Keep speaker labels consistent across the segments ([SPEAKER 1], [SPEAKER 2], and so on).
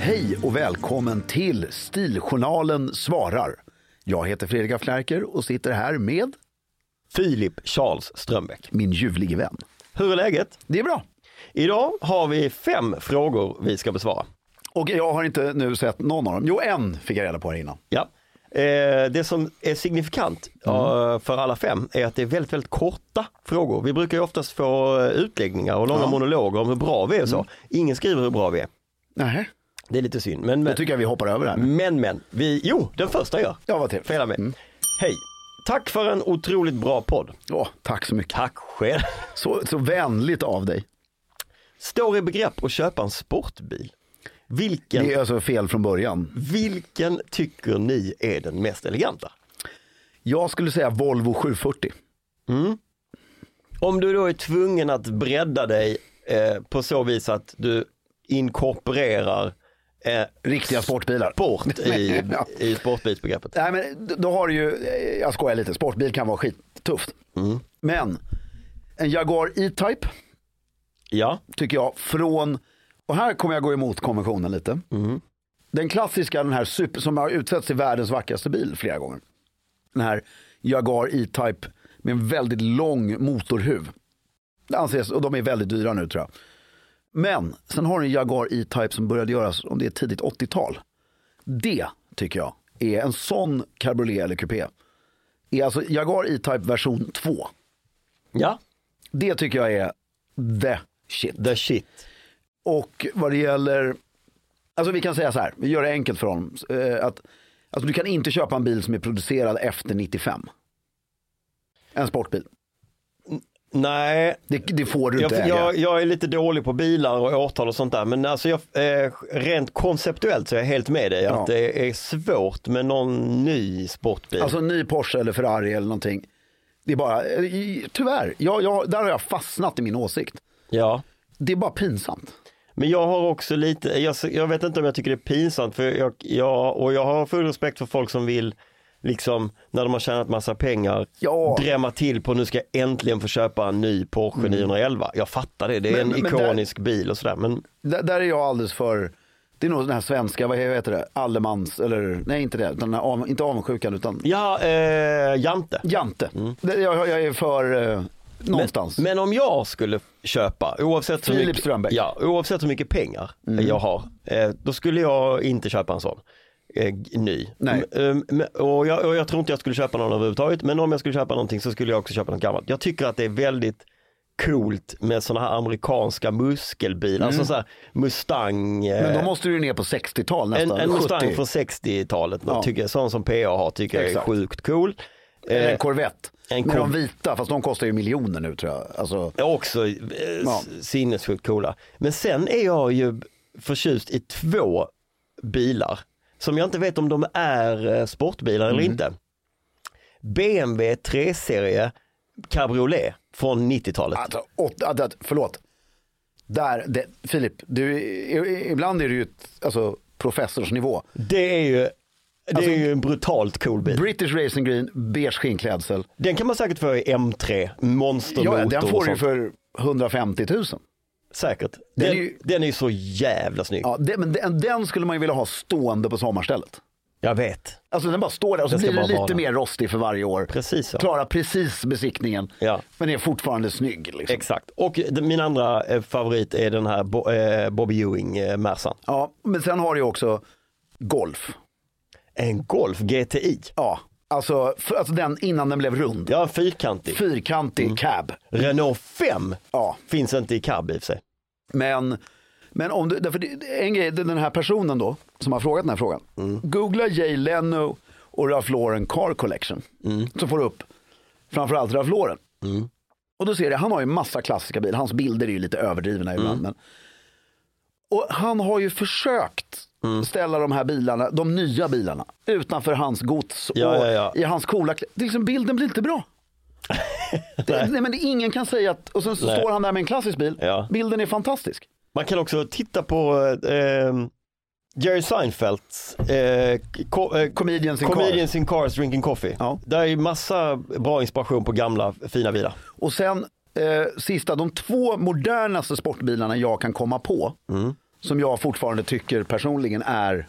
[SPEAKER 1] Hej och välkommen till Stiljournalen svarar. Jag heter Fredrik af Klerker och sitter här med
[SPEAKER 2] Filip Charles Strömbäck.
[SPEAKER 1] min ljuvlige vän.
[SPEAKER 2] Hur är läget?
[SPEAKER 1] Det är bra.
[SPEAKER 2] Idag har vi fem frågor vi ska besvara.
[SPEAKER 1] Och jag har inte nu sett någon av dem. Jo, en fick jag reda på här innan.
[SPEAKER 2] Ja. Eh, Det som är signifikant
[SPEAKER 1] Mm.
[SPEAKER 2] eh, för alla fem är att det är väldigt, väldigt korta frågor. Vi brukar ju oftast få eh, utläggningar och långa monologer om hur bra vi är och
[SPEAKER 1] Mm.
[SPEAKER 2] så. Ingen skriver hur bra vi är.
[SPEAKER 1] Nej.
[SPEAKER 2] Det är lite synd. Men men,
[SPEAKER 1] Då tycker Mm. jag vi hoppar över det här.
[SPEAKER 2] men, men vi, jo, den första gör.
[SPEAKER 1] Ja, vad trevligt.
[SPEAKER 2] Fela med. Hej, tack för en otroligt bra podd.
[SPEAKER 1] Åh, tack så mycket.
[SPEAKER 2] Tack själv.
[SPEAKER 1] Så, så vänligt av dig.
[SPEAKER 2] Står i begrepp att köpa en sportbil. Vilken,
[SPEAKER 1] Det är alltså fel från början.
[SPEAKER 2] vilken tycker ni är den mest eleganta?
[SPEAKER 1] Jag skulle säga Volvo 740.
[SPEAKER 2] Om du då är tvungen att bredda dig eh, på så vis att du inkorporerar eh,
[SPEAKER 1] Riktiga sportbilar.
[SPEAKER 2] sport i,
[SPEAKER 1] Ja.
[SPEAKER 2] i sportbilsbegreppet.
[SPEAKER 1] Nej, men då har du ju, eh, jag skojar lite, sportbil kan vara skittufft. Men en Jaguar E-Type
[SPEAKER 2] Ja,
[SPEAKER 1] tycker jag från, och här kommer jag gå emot konventionen lite. Den klassiska, den här super, som har utsetts till världens vackraste bil flera gånger. Den här Jaguar E-Type med en väldigt lång motorhuv. Det anses, och de är väldigt dyra nu tror jag. Men sen har du en Jaguar E-Type som började göras, om det är tidigt 80-tal. Det tycker jag är en sån cabriolet eller coupé. Är alltså Jaguar E-Type version 2.
[SPEAKER 2] ja,
[SPEAKER 1] Det tycker jag är the shit.
[SPEAKER 2] the shit.
[SPEAKER 1] Och vad det gäller, alltså vi kan säga så här, vi gör det enkelt för honom. Eh, Att, alltså du kan inte köpa en bil som är producerad efter 95. En sportbil.
[SPEAKER 2] Nej,
[SPEAKER 1] Det, det får du
[SPEAKER 2] jag,
[SPEAKER 1] inte äga.
[SPEAKER 2] jag, jag är lite dålig på bilar och årtal och sånt där, men alltså jag, eh, rent konceptuellt så är jag helt med dig
[SPEAKER 1] Ja.
[SPEAKER 2] att det är svårt med någon ny sportbil.
[SPEAKER 1] Alltså en ny Porsche eller Ferrari eller någonting. Det är bara, eh, i- tyvärr, jag, jag, där har jag fastnat i min åsikt.
[SPEAKER 2] ja.
[SPEAKER 1] Det är bara pinsamt.
[SPEAKER 2] Men jag har också lite, jag, jag vet inte om jag tycker det är pinsamt för jag, jag, och jag har full respekt för folk som vill liksom när de har tjänat massa pengar
[SPEAKER 1] Ja. Mm.
[SPEAKER 2] drämma till på nu ska jag äntligen få köpa en ny Porsche 911. Jag fattar det, det är
[SPEAKER 1] Men-
[SPEAKER 2] en
[SPEAKER 1] men- men där-
[SPEAKER 2] ikonisk bil och sådär men
[SPEAKER 1] Där, där är jag alldeles för, det är nog den här svenska, vad heter det, allemans, eller nej inte det, utan den här, av- inte avundsjukan utan
[SPEAKER 2] ja, eh, Jante.
[SPEAKER 1] Jante. Det- Jag, jag är för eh, Någonstans.
[SPEAKER 2] Men om jag skulle köpa, oavsett hur,
[SPEAKER 1] Filip Mm.
[SPEAKER 2] mycket,
[SPEAKER 1] Strömbäck.
[SPEAKER 2] ja, oavsett hur mycket pengar jag har, eh, då skulle jag inte köpa en sån eh, g- ny.
[SPEAKER 1] Nej.
[SPEAKER 2] Mm, eh, men- och, jag, och jag tror inte jag skulle köpa någon överhuvudtaget, men om jag skulle köpa någonting så skulle jag också köpa något gammalt. Jag tycker att det är väldigt coolt med sådana här amerikanska muskelbilar, alltså så här Mustang. eh,
[SPEAKER 1] Mm. Men då måste du ju ner på 60-tal
[SPEAKER 2] en,
[SPEAKER 1] nästan.
[SPEAKER 2] en Mustang
[SPEAKER 1] 70.
[SPEAKER 2] från 60-talet,
[SPEAKER 1] Ja.
[SPEAKER 2] ja. tycker, sån som PA har, tycker jag är
[SPEAKER 1] Exakt.
[SPEAKER 2] sjukt cool.
[SPEAKER 1] Eller
[SPEAKER 2] Eh,
[SPEAKER 1] en Corvette.
[SPEAKER 2] en
[SPEAKER 1] med de
[SPEAKER 2] Corv-
[SPEAKER 1] vita, fast de kostar ju miljoner nu tror jag. Alltså,
[SPEAKER 2] är också eh,
[SPEAKER 1] Ja.
[SPEAKER 2] s- sinnessjukt coola. Men sen är jag ju förtjust i två bilar som jag inte vet om de är eh, sportbilar
[SPEAKER 1] Mm.
[SPEAKER 2] eller inte. BMW 3-serie cabriolet från 90-talet.
[SPEAKER 1] alltså åt, att, att, förlåt. Där, det, Filip, du, i, i, ibland är du ju ett, alltså, professorsnivå.
[SPEAKER 2] Det är ju det
[SPEAKER 1] Alltså-
[SPEAKER 2] är ju en brutalt cool bil.
[SPEAKER 1] British Racing Green, beige skinnklädsel.
[SPEAKER 2] Den kan man säkert få i M3, monstermotor
[SPEAKER 1] Ja, den
[SPEAKER 2] och
[SPEAKER 1] får du ju
[SPEAKER 2] sånt.
[SPEAKER 1] för 150 000.
[SPEAKER 2] Säkert. Den,
[SPEAKER 1] är
[SPEAKER 2] den,
[SPEAKER 1] ju-
[SPEAKER 2] är ju... så jävla snygg.
[SPEAKER 1] Ja, det, men den, den skulle man ju vilja ha stående på sommarstället.
[SPEAKER 2] Jag vet.
[SPEAKER 1] Alltså den bara står där och så
[SPEAKER 2] Den ska
[SPEAKER 1] blir den
[SPEAKER 2] bara
[SPEAKER 1] lite
[SPEAKER 2] vara där.
[SPEAKER 1] mer rostig för varje år.
[SPEAKER 2] Precis så.
[SPEAKER 1] Klarar precis besiktningen,
[SPEAKER 2] Ja.
[SPEAKER 1] men är fortfarande snygg. Liksom.
[SPEAKER 2] Exakt. Och d- min andra eh, favorit är den här Bo- eh, Bobby Ewing eh, Mercan.
[SPEAKER 1] Ja, men sen har du ju också golf.
[SPEAKER 2] En Golf GTI.
[SPEAKER 1] Ja, alltså, för, alltså den innan den blev rund.
[SPEAKER 2] Ja, en fyrkantig.
[SPEAKER 1] Fyrkantig cab.
[SPEAKER 2] Renault 5
[SPEAKER 1] Ja,
[SPEAKER 2] finns inte i cab i och för sig.
[SPEAKER 1] men, men om du, därför det, en grej, den här personen då som har frågat den här frågan. Googla Jay Leno och Ralph Lauren Car Collection. Så får du upp framförallt Ralph Lauren. Och då ser du, han har ju massa klassiska bilar. Hans bilder är ju lite överdrivna
[SPEAKER 2] Mm.
[SPEAKER 1] ibland. Men, och han har ju försökt
[SPEAKER 2] Mm.
[SPEAKER 1] ställa de här bilarna, de nya bilarna, utanför hans gods och
[SPEAKER 2] Ja, ja, ja.
[SPEAKER 1] i hans coola kläder. Liksom, bilden blir inte bra. det, nej, men det, ingen kan säga att, och sen så
[SPEAKER 2] Nej.
[SPEAKER 1] står han där med en klassisk bil.
[SPEAKER 2] Ja.
[SPEAKER 1] Bilden är fantastisk.
[SPEAKER 2] Man kan också titta på eh, eh, Jerry Seinfelds eh, ko- eh,
[SPEAKER 1] Comedians in
[SPEAKER 2] Comedians in Cars Drinking Coffee.
[SPEAKER 1] Ja.
[SPEAKER 2] Där är ju massa bra inspiration på gamla fina bilar.
[SPEAKER 1] Och sen eh, sista, de två modernaste sportbilarna jag kan komma på,
[SPEAKER 2] Mm.
[SPEAKER 1] som jag fortfarande tycker personligen är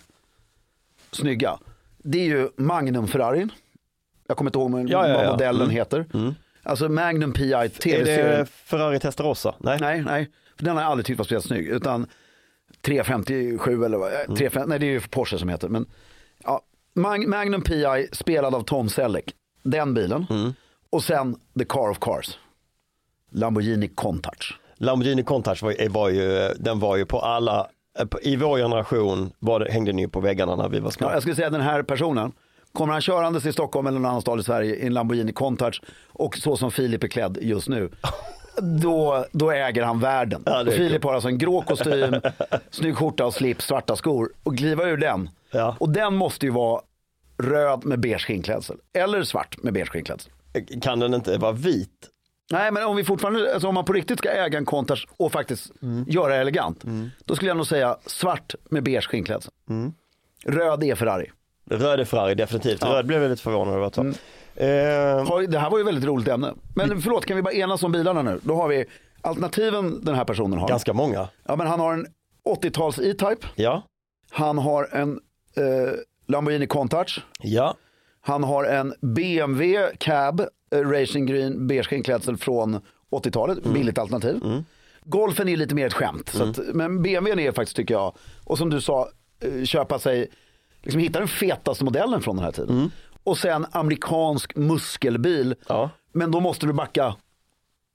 [SPEAKER 1] snygga. Det är ju Magnum Ferrarin. Jag kommer inte ihåg men-
[SPEAKER 2] Ja, ja,
[SPEAKER 1] vad
[SPEAKER 2] ja.
[SPEAKER 1] modellen
[SPEAKER 2] Mm.
[SPEAKER 1] heter. Alltså Magnum Pi
[SPEAKER 2] Är det
[SPEAKER 1] tv-serien.
[SPEAKER 2] Ferrari Testarossa? Nej.
[SPEAKER 1] Nej, nej. För den har jag aldrig tyckt var speciellt snygg. Utan 357 eller vad, eh, 35, nej det är ju Porsche som heter. Men, ja, Mag- Magnum Pi spelad av Tom Selleck. Den bilen. Och sen The Car of Cars. Lamborghini Countach.
[SPEAKER 2] Lamborghini Countach var, eh, var ju, den var ju på alla, i vår generation var det, hängde den ju på väggarna när vi var små.
[SPEAKER 1] Ja, jag skulle säga den här personen. Kommer han körandes i Stockholm eller någon annanstans i Sverige i en Lamborghini Countach och så som Filip är klädd just nu. Då, då äger han världen.
[SPEAKER 2] Ja, det är
[SPEAKER 1] Filip har alltså en grå kostym, snygg skjorta och slips, svarta skor. Och kliva ur den.
[SPEAKER 2] Ja.
[SPEAKER 1] Och den måste ju vara röd med beige skinnklädsel. Eller svart med beige skinnklädsel.
[SPEAKER 2] Kan den inte vara vit?
[SPEAKER 1] Nej men om vi fortfarande, alltså om man på riktigt ska äga en Countach och faktiskt
[SPEAKER 2] Mm.
[SPEAKER 1] göra det elegant. Då skulle jag nog säga svart med beige skinnklädsel.
[SPEAKER 2] Mm.
[SPEAKER 1] Röd är Ferrari.
[SPEAKER 2] Röd är Ferrari definitivt. Röd blev jag lite förvånad över att
[SPEAKER 1] Mm.
[SPEAKER 2] ta. Eh,
[SPEAKER 1] Har- Det här var ju ett väldigt roligt ämne. Men förlåt, kan vi bara enas om bilarna nu? Då har vi alternativen den här personen har.
[SPEAKER 2] ganska många.
[SPEAKER 1] Ja, men han har en 80-tals E-Type.
[SPEAKER 2] Ja,
[SPEAKER 1] Han har en eh, Lamborghini Countach.
[SPEAKER 2] ja,
[SPEAKER 1] Han har en BMW Cab eh, Racing Green beige skinnklädsel från 80-talet. Billigt alternativ. Golfen är lite mer ett skämt. Så att, men BMWn är faktiskt, tycker jag, och som du sa, eh, köpa sig, liksom hitta den fetaste modellen från den här tiden. Och sen amerikansk muskelbil.
[SPEAKER 2] Ja.
[SPEAKER 1] Men då måste du backa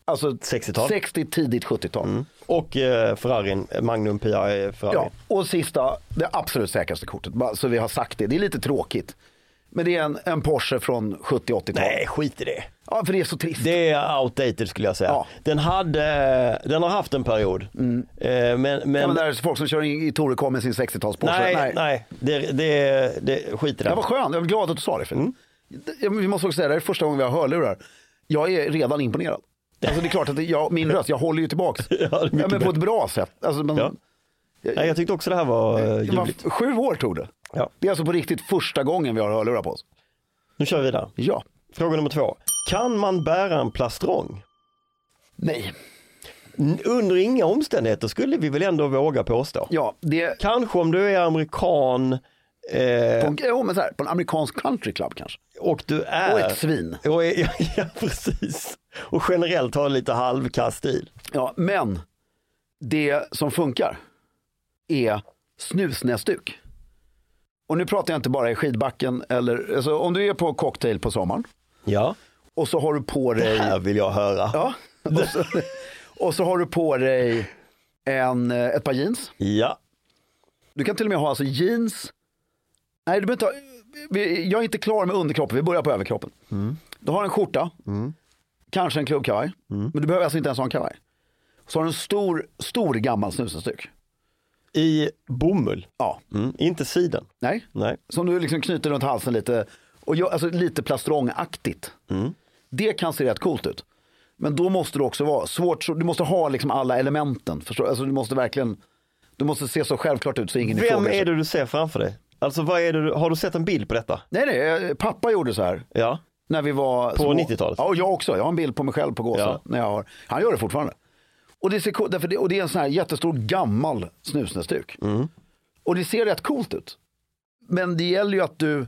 [SPEAKER 1] alltså,
[SPEAKER 2] 60-tal.
[SPEAKER 1] 60, tidigt 70-tal.
[SPEAKER 2] Och eh, Ferrarin, Magnum E Pi Ferrari.
[SPEAKER 1] Ja, och sista, det absolut säkraste kortet, bara så vi har sagt det, det är lite tråkigt. Men det är en, en Porsche från 70-80-talet.
[SPEAKER 2] Nej, skit i det.
[SPEAKER 1] Ja, för det är så trist.
[SPEAKER 2] Det är outdated skulle jag säga.
[SPEAKER 1] Ja. Mm.
[SPEAKER 2] Den, hade, den har haft en period. Eh, men, men,
[SPEAKER 1] Ja, men det är folk som kör in i Torekov med sin 60-tals Porsche.
[SPEAKER 2] nej, nej, det, det, det, skit i det.
[SPEAKER 1] Det var skönt, jag är glad att du sa det. För
[SPEAKER 2] Mm.
[SPEAKER 1] ja, men vi måste också säga, det här är första gången vi har hörlurar. Jag är redan imponerad. Alltså det är klart att det, jag, min röst, jag håller ju tillbaks.
[SPEAKER 2] det är mycket
[SPEAKER 1] men på
[SPEAKER 2] bättre.
[SPEAKER 1] ett bra sätt. Alltså, men,
[SPEAKER 2] Ja. Nej, jag tyckte också det här var eh,
[SPEAKER 1] det var
[SPEAKER 2] ljuvligt.
[SPEAKER 1] sju år tog det.
[SPEAKER 2] Ja.
[SPEAKER 1] Det är alltså på riktigt första gången vi har hörlurar på oss.
[SPEAKER 2] Nu kör vi vidare.
[SPEAKER 1] Ja.
[SPEAKER 2] Fråga nummer två. Kan man bära en plastrong?
[SPEAKER 1] Nej.
[SPEAKER 2] N- Under inga omständigheter skulle vi väl ändå våga påstå.
[SPEAKER 1] Ja, det,
[SPEAKER 2] Kanske om du är amerikan Eh,
[SPEAKER 1] På en, jo, men så här, på en amerikansk country club kanske.
[SPEAKER 2] och du är...
[SPEAKER 1] Och ett svin.
[SPEAKER 2] Och är, ja, ja, precis. Och generellt har en lite halvkass stil.
[SPEAKER 1] Ja, men det som funkar är snusnäsduk. Och nu pratar jag inte bara i skidbacken eller, alltså, om du är på cocktail på sommaren
[SPEAKER 2] Ja,
[SPEAKER 1] och så har du på
[SPEAKER 2] det
[SPEAKER 1] dig
[SPEAKER 2] här vill jag höra.
[SPEAKER 1] Ja, och så, och så har du på dig en, eh, ett par jeans.
[SPEAKER 2] Ja.
[SPEAKER 1] Du kan till och med ha alltså jeans. Nej, du behöver inte ha, vi- jag är inte klar med underkroppen, vi börjar på överkroppen. Du har en skjorta, kanske en klubbkavaj, men du behöver alltså inte ens ha en kavaj. Så har du en stor, stor gammal snusenstuk.
[SPEAKER 2] I bomull,
[SPEAKER 1] Ja,
[SPEAKER 2] mm. inte siden.
[SPEAKER 1] nej.
[SPEAKER 2] Nej.
[SPEAKER 1] Som du liksom knyter runt halsen lite, och gör, alltså lite plastrongaktigt. Det kan se rätt coolt ut. Men då måste du också vara svårt, så- du måste ha liksom alla elementen. Förstår? du? Alltså du måste verkligen, du måste se så självklart ut så ingen
[SPEAKER 2] Vem
[SPEAKER 1] ifrågasätter.
[SPEAKER 2] är det du ser framför dig? Alltså vad är det du, har du sett en bild på detta?
[SPEAKER 1] Nej, nej, eh, pappa gjorde så här.
[SPEAKER 2] Ja.
[SPEAKER 1] När vi var På
[SPEAKER 2] 90-talet?
[SPEAKER 1] Ja, och jag också. Jag har en bild på mig själv på Gåsa.
[SPEAKER 2] Ja.
[SPEAKER 1] När jag har... Han gör det fortfarande. Och det, ser, cool- därför det, och det är en sån här jättestor gammal snusnäsduk. Och det ser rätt coolt ut. Men det gäller ju att du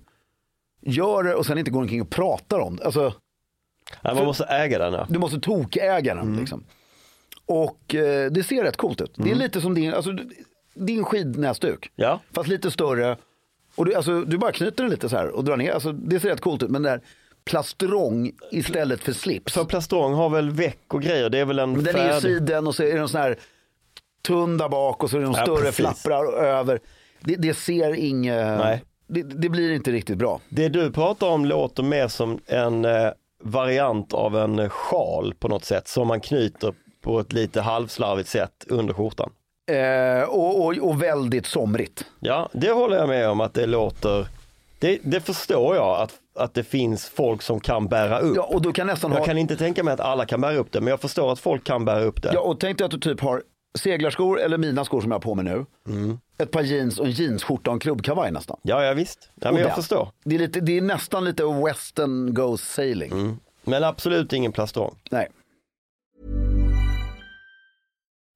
[SPEAKER 1] gör det och sen inte går omkring och pratar om det. Alltså,
[SPEAKER 2] Nej, man måste äga den. Ja.
[SPEAKER 1] du måste tokäga den. Liksom. Och eh, det ser rätt coolt ut. Det är lite som din, alltså, din skidnäsduk.
[SPEAKER 2] ja.
[SPEAKER 1] Fast lite större. Och du, alltså, du bara knyter den lite så här och drar ner. Alltså, det ser rätt coolt ut. Men det där plastrong istället för slips.
[SPEAKER 2] För plastrong har väl veck och grejer, det är väl en
[SPEAKER 1] Men den är ju siden och så är den sån här tunn där bak och så är de
[SPEAKER 2] Ja,
[SPEAKER 1] större
[SPEAKER 2] precis.
[SPEAKER 1] flapprar över. Det, det ser inget,
[SPEAKER 2] Nej.
[SPEAKER 1] det, det blir inte riktigt bra.
[SPEAKER 2] Det du pratar om låter mer som en eh, variant av en eh, sjal på något sätt som man knyter på ett lite halvslarvigt sätt under skjortan.
[SPEAKER 1] Eh, och, och, och väldigt somrigt.
[SPEAKER 2] Ja, det håller jag med om att det låter, det, det förstår jag att, att det finns folk som kan bära upp.
[SPEAKER 1] Ja, och du kan nästan ha,
[SPEAKER 2] Jag kan inte tänka mig att alla kan bära upp det, men jag förstår att folk kan bära upp det.
[SPEAKER 1] ja, och tänk dig att du typ har seglarskor eller mina skor som jag har på mig nu.
[SPEAKER 2] Mm.
[SPEAKER 1] Ett par jeans och en jeansskjorta och en klubbkavaj nästan.
[SPEAKER 2] Ja, ja visst. Ja, men
[SPEAKER 1] Och
[SPEAKER 2] jag
[SPEAKER 1] där.
[SPEAKER 2] förstår.
[SPEAKER 1] Det är, lite, det är nästan lite western goes sailing.
[SPEAKER 2] Mm. Men absolut ingen plastrong.
[SPEAKER 1] Nej.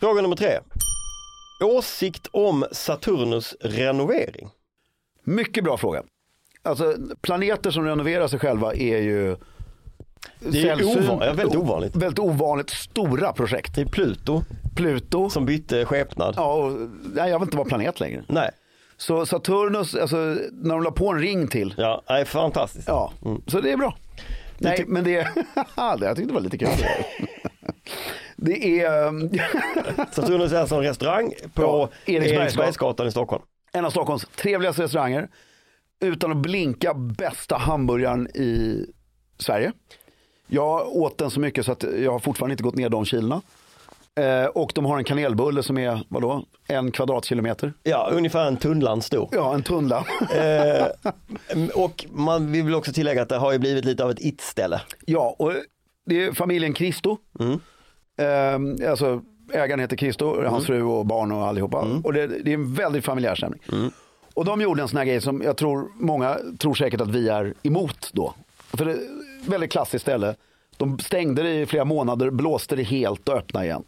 [SPEAKER 2] Fråga nummer tre. Åsikt om Saturnus renovering.
[SPEAKER 1] Mycket bra fråga. Alltså, planeter som renoverar sig själva är ju
[SPEAKER 2] Det är
[SPEAKER 1] sällsynt-
[SPEAKER 2] ovan, ja, väldigt ovanligt.
[SPEAKER 1] väldigt ovanligt stora projekt.
[SPEAKER 2] Det är Pluto
[SPEAKER 1] Pluto,
[SPEAKER 2] som bytte skepnad.
[SPEAKER 1] ja, och, nej, jag vill inte vara planet längre.
[SPEAKER 2] Nej,
[SPEAKER 1] Så Saturnus, alltså, när de la på en ring till,
[SPEAKER 2] ja, nej, fantastiskt.
[SPEAKER 1] ja, så det är bra. Nej, men det, det jag tyckte det var lite kul. det är um,
[SPEAKER 2] Saturnus är alltså en restaurang på
[SPEAKER 1] Ja, Eriksbergsgatan.
[SPEAKER 2] Eriksbergsgatan i Stockholm.
[SPEAKER 1] en av Stockholms trevligaste restauranger. Utan att blinka bästa hamburgaren i Sverige. Jag åt den så mycket så att jag har fortfarande inte gått ner de kilorna. Eh, och de har en kanelbulle som är, vadå, en kvadratkilometer.
[SPEAKER 2] Ja, ungefär en tunnland stor.
[SPEAKER 1] Ja, en tunnla.
[SPEAKER 2] Eh, och man vi vill också tillägga att det har ju blivit lite av ett it-ställe.
[SPEAKER 1] ja, och det är familjen Kristo. Eh, alltså ägaren heter Kristo, hans fru och barn och allihopa. Och det, det är en väldigt familjär stämning. Och de gjorde en sån här grej som jag tror många tror säkert att vi är emot då. För det är ett väldigt klassiskt ställe. De stängde det i flera månader, blåste det helt och öppnade igen.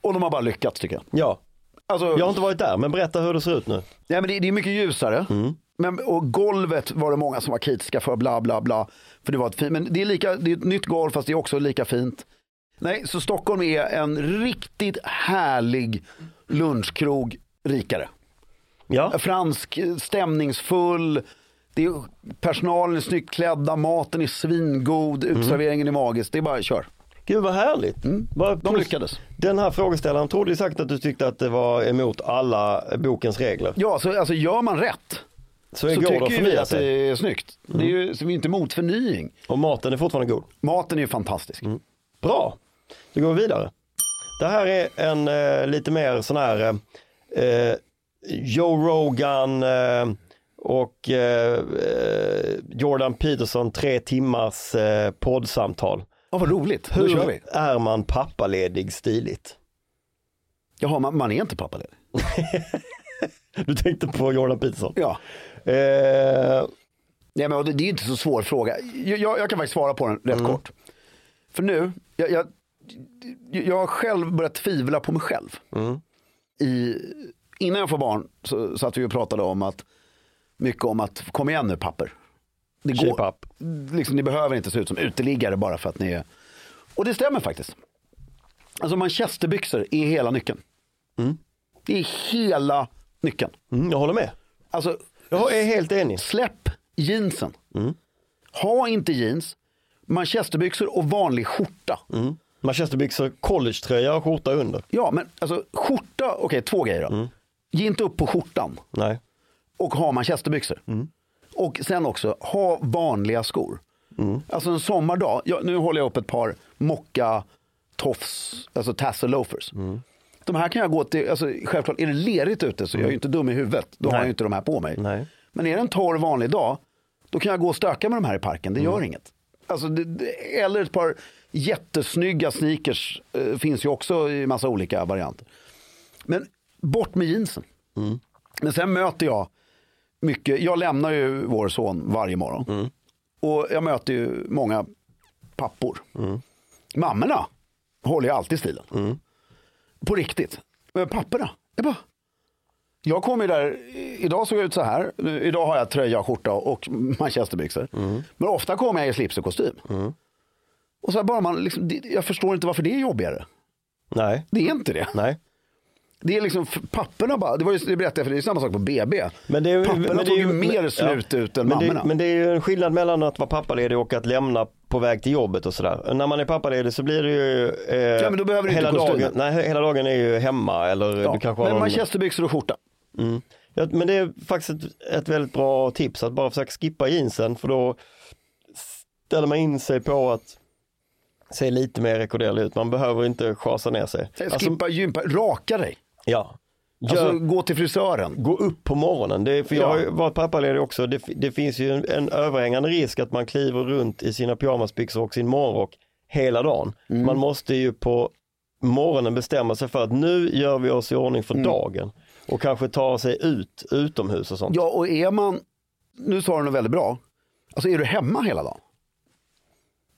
[SPEAKER 1] Och de har bara lyckats tycker jag.
[SPEAKER 2] Ja,
[SPEAKER 1] Alltså,
[SPEAKER 2] jag har inte varit där, men berätta hur det ser ut nu.
[SPEAKER 1] Nej, men det, det är mycket ljusare.
[SPEAKER 2] Mm.
[SPEAKER 1] Men, och golvet var det många som var kritiska för, bla bla bla. För det var ett fint, men det är, lika, det är ett nytt golv fast det är också lika fint. Nej, så Stockholm är en riktigt härlig lunchkrog rikare.
[SPEAKER 2] Ja,
[SPEAKER 1] Fransk, eh, stämningsfull, det är, personalen är snyggt klädda, maten är svingod,
[SPEAKER 2] Mm.
[SPEAKER 1] utserveringen är magisk. Det är bara kör.
[SPEAKER 2] gud vad härligt. Vad
[SPEAKER 1] Mm. De
[SPEAKER 2] pos-
[SPEAKER 1] lyckades.
[SPEAKER 2] Den här frågeställaren trodde ju säkert att du tyckte att det var emot alla bokens regler.
[SPEAKER 1] Ja, så, alltså gör man rätt
[SPEAKER 2] Så,
[SPEAKER 1] så
[SPEAKER 2] det går det att
[SPEAKER 1] tycker ju vi
[SPEAKER 2] förnya
[SPEAKER 1] att
[SPEAKER 2] sig. Mm.
[SPEAKER 1] det är snyggt. Det är ju, så vi är inte emot förnying.
[SPEAKER 2] Och maten är fortfarande god.
[SPEAKER 1] Maten är ju
[SPEAKER 2] Mm.
[SPEAKER 1] fantastisk.
[SPEAKER 2] Bra, då går vi vidare. Det här är en eh, lite mer sån här eh, Joe Rogan eh, och eh, eh, Jordan Peterson tre timmars eh, poddsamtal.
[SPEAKER 1] Ja, vad roligt, då kör vi.
[SPEAKER 2] Hur är man pappaledig stiligt?
[SPEAKER 1] Jaha, man, man är inte pappaledig.
[SPEAKER 2] Du tänkte på Jordan Peterson.
[SPEAKER 1] Ja.
[SPEAKER 2] Eh,
[SPEAKER 1] Nej, men det, det är ju inte så svår fråga. Jag, jag, jag kan faktiskt svara på den rätt kort. För nu, jag, jag, jag har själv börjat tvivla på mig själv. I, innan jag får barn så satt vi och pratade om att, mycket om att kom igen nu papper. Det
[SPEAKER 2] Shape up.
[SPEAKER 1] liksom, ni behöver inte se ut som uteliggare bara för att ni är... Och det stämmer faktiskt. Alltså manchesterbyxor är hela nyckeln. Det är hela nyckeln.
[SPEAKER 2] mm, jag håller med.
[SPEAKER 1] Alltså
[SPEAKER 2] Jag är helt enig.
[SPEAKER 1] Släpp jeansen. Ha inte jeans, manchesterbyxor och vanlig skjorta.
[SPEAKER 2] Manchesterbyxor, collegetröja och skjorta under.
[SPEAKER 1] Ja, men alltså skjorta, okej två grejer då. Ge inte upp på skjortan
[SPEAKER 2] Nej.
[SPEAKER 1] och ha manchesterbyxor. Och sen också, ha vanliga skor. Alltså en sommardag, ja, nu håller jag upp ett par mocka tofs, alltså tassel loafers. De här kan jag gå till, alltså, självklart är det lerigt ute så jag är ju inte dum i huvudet, då har jag ju inte de här på mig.
[SPEAKER 2] Nej.
[SPEAKER 1] Men är det en torr vanlig dag, då kan jag gå och stöka med de här i parken, det gör inget. Alltså, det, det, eller ett par jättesnygga sneakers, eh, finns ju också i massa olika varianter. Men bort med jeansen. Men sen möter jag mycket, jag lämnar ju vår son varje morgon. Och jag möter ju många pappor. Mammorna håller ju alltid stilen. På riktigt. Men papporna, jag bara. Jag kommer ju där, i- idag såg jag ut så här, Nu- idag har jag tröja, skjorta och manchesterbyxor. Men ofta kommer jag i slips och kostym. Och så här bara man, liksom, det- jag förstår inte varför det är jobbigare.
[SPEAKER 2] Nej.
[SPEAKER 1] Det är inte det.
[SPEAKER 2] Nej.
[SPEAKER 1] Det är liksom, f- papporna bara, det, var ju, det berättade jag för dig, det är samma sak på BB.
[SPEAKER 2] Men det är,
[SPEAKER 1] papporna
[SPEAKER 2] men det är
[SPEAKER 1] tog ju
[SPEAKER 2] men-
[SPEAKER 1] mer
[SPEAKER 2] ja.
[SPEAKER 1] slut ut än
[SPEAKER 2] men det,
[SPEAKER 1] mammorna.
[SPEAKER 2] Men det är ju en skillnad mellan att vara pappaledig och att lämna på väg till jobbet och sådär. När man är pappaledig så blir det ju eh,
[SPEAKER 1] men då behöver du
[SPEAKER 2] hela,
[SPEAKER 1] inte kostymen.
[SPEAKER 2] dagen, nej, he- hela dagen är ju hemma eller
[SPEAKER 1] Ja,
[SPEAKER 2] du kanske har
[SPEAKER 1] men
[SPEAKER 2] någon...
[SPEAKER 1] manchesterbyxor och skjorta.
[SPEAKER 2] ja, men det är faktiskt ett, ett väldigt bra tips att bara försöka skippa jeansen för då ställer man in sig på att se lite mer rekorderlig ut. Man behöver inte schasa ner sig.
[SPEAKER 1] Skippa
[SPEAKER 2] Alltså,
[SPEAKER 1] gympa, raka dig.
[SPEAKER 2] ja.
[SPEAKER 1] Alltså,
[SPEAKER 2] Gör-
[SPEAKER 1] Gå till frisören.
[SPEAKER 2] gå upp på morgonen. Det är, för jag
[SPEAKER 1] Ja.
[SPEAKER 2] har ju varit pappaledig också. Det, det finns ju en, en överhängande risk att man kliver runt i sina pyjamasbyxor och sin morgonrock hela dagen.
[SPEAKER 1] Mm.
[SPEAKER 2] Man måste ju på morgonen bestämma sig för att nu gör vi oss i
[SPEAKER 1] Mm.
[SPEAKER 2] ordning för dagen och kanske ta sig ut utomhus och sånt.
[SPEAKER 1] Ja, och är man, nu sa du något väldigt bra, alltså är du hemma hela dagen?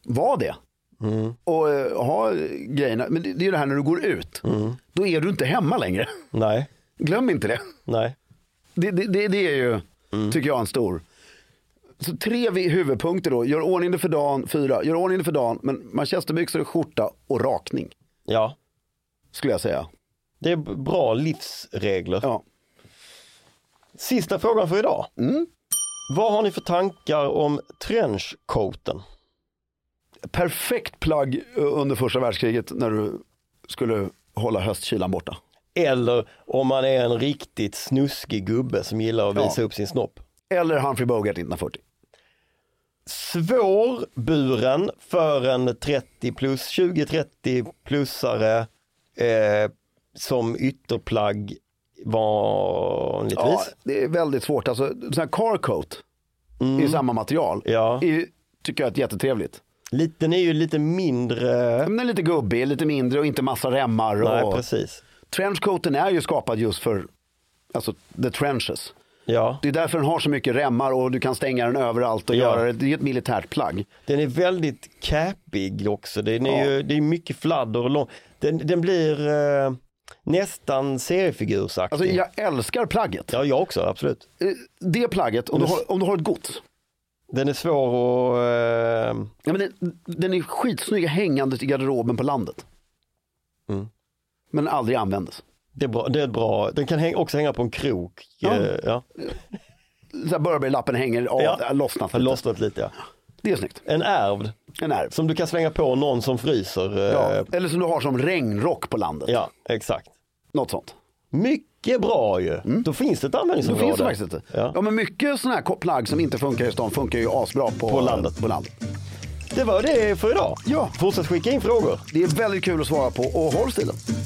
[SPEAKER 1] Var det.
[SPEAKER 2] Mm.
[SPEAKER 1] Och eh, ha grejerna, men det, det är ju det här när du går ut,
[SPEAKER 2] Mm.
[SPEAKER 1] då är du inte hemma längre.
[SPEAKER 2] Nej,
[SPEAKER 1] Glöm inte det.
[SPEAKER 2] nej.
[SPEAKER 1] Det, det, det, det är ju,
[SPEAKER 2] Mm.
[SPEAKER 1] tycker jag, en stor. Så tre vi- huvudpunkter då, gör ordning det för dagen, fyra, gör ordning det för dagen, men manchesterbyxor, skjorta och rakning
[SPEAKER 2] Ja,
[SPEAKER 1] skulle jag säga.
[SPEAKER 2] det är b- bra livsregler.
[SPEAKER 1] Ja.
[SPEAKER 2] Sista frågan för idag.
[SPEAKER 1] Mm.
[SPEAKER 2] Vad har ni för tankar om trenchcoaten?
[SPEAKER 1] perfekt plagg eh, under första världskriget när du skulle hålla höstkylan borta.
[SPEAKER 2] Eller om man är en riktigt snuskig gubbe som gillar att visa upp sin snopp.
[SPEAKER 1] Eller Humphrey Bogart 1940.
[SPEAKER 2] Svårburen för en 30 plus, 20-30 plusare eh, som ytterplagg
[SPEAKER 1] Ja,
[SPEAKER 2] vanligtvis.
[SPEAKER 1] det är väldigt svårt. Alltså, sån här car coat i samma material
[SPEAKER 2] Mm. Ja.
[SPEAKER 1] är, ju- tycker jag är jättetrevligt.
[SPEAKER 2] Lite, den är ju lite mindre.
[SPEAKER 1] Den är lite gubbig, lite mindre och inte massa remmar.
[SPEAKER 2] Nej,
[SPEAKER 1] och...
[SPEAKER 2] precis.
[SPEAKER 1] Trenchcoaten är ju skapad just för alltså, the trenches.
[SPEAKER 2] Ja.
[SPEAKER 1] Det är därför den har så mycket remmar och du kan stänga den överallt och
[SPEAKER 2] Ja.
[SPEAKER 1] göra det. Det är ett militärt plagg.
[SPEAKER 2] Den är väldigt käpig också. Den är
[SPEAKER 1] Ja.
[SPEAKER 2] ju, det är mycket fladder och lång. Den, den blir eh, nästan seriefigursaktig.
[SPEAKER 1] Alltså, jag älskar plagget.
[SPEAKER 2] Ja, jag också, absolut.
[SPEAKER 1] Eh, Det plagget, om du har, om du har ett gods.
[SPEAKER 2] Den är svår att... Eh,
[SPEAKER 1] Ja, men den, den är
[SPEAKER 2] Mm.
[SPEAKER 1] skitsnygg hängandes i garderoben på landet. Men aldrig användes.
[SPEAKER 2] Det är, bra, det är ett bra, den kan häng, också hänga på en krok.
[SPEAKER 1] Ja.
[SPEAKER 2] Eh, ja.
[SPEAKER 1] Så här Burberry-lappen hänger av,
[SPEAKER 2] Ja.
[SPEAKER 1] ja. lossnat
[SPEAKER 2] Har
[SPEAKER 1] lite.
[SPEAKER 2] lossnat lite ja.
[SPEAKER 1] Det är snyggt.
[SPEAKER 2] En ärvd
[SPEAKER 1] En ärv.
[SPEAKER 2] som du kan slänga på någon som fryser. eh,
[SPEAKER 1] Ja. Eller som du har som regnrock på landet.
[SPEAKER 2] ja, exakt.
[SPEAKER 1] Något sånt.
[SPEAKER 2] Mycket bra ju. Då finns det ett
[SPEAKER 1] Mm. Då
[SPEAKER 2] användningsområde.
[SPEAKER 1] finns det faktiskt inte. Ja.
[SPEAKER 2] Ja.
[SPEAKER 1] men mycket sådana här ko- plagg som inte funkar i stan funkar ju asbra på,
[SPEAKER 2] På landet.
[SPEAKER 1] på landet.
[SPEAKER 2] Det var det för idag.
[SPEAKER 1] Ja.
[SPEAKER 2] Fortsätt skicka in frågor.
[SPEAKER 1] Det är väldigt kul att svara på och håll stilen.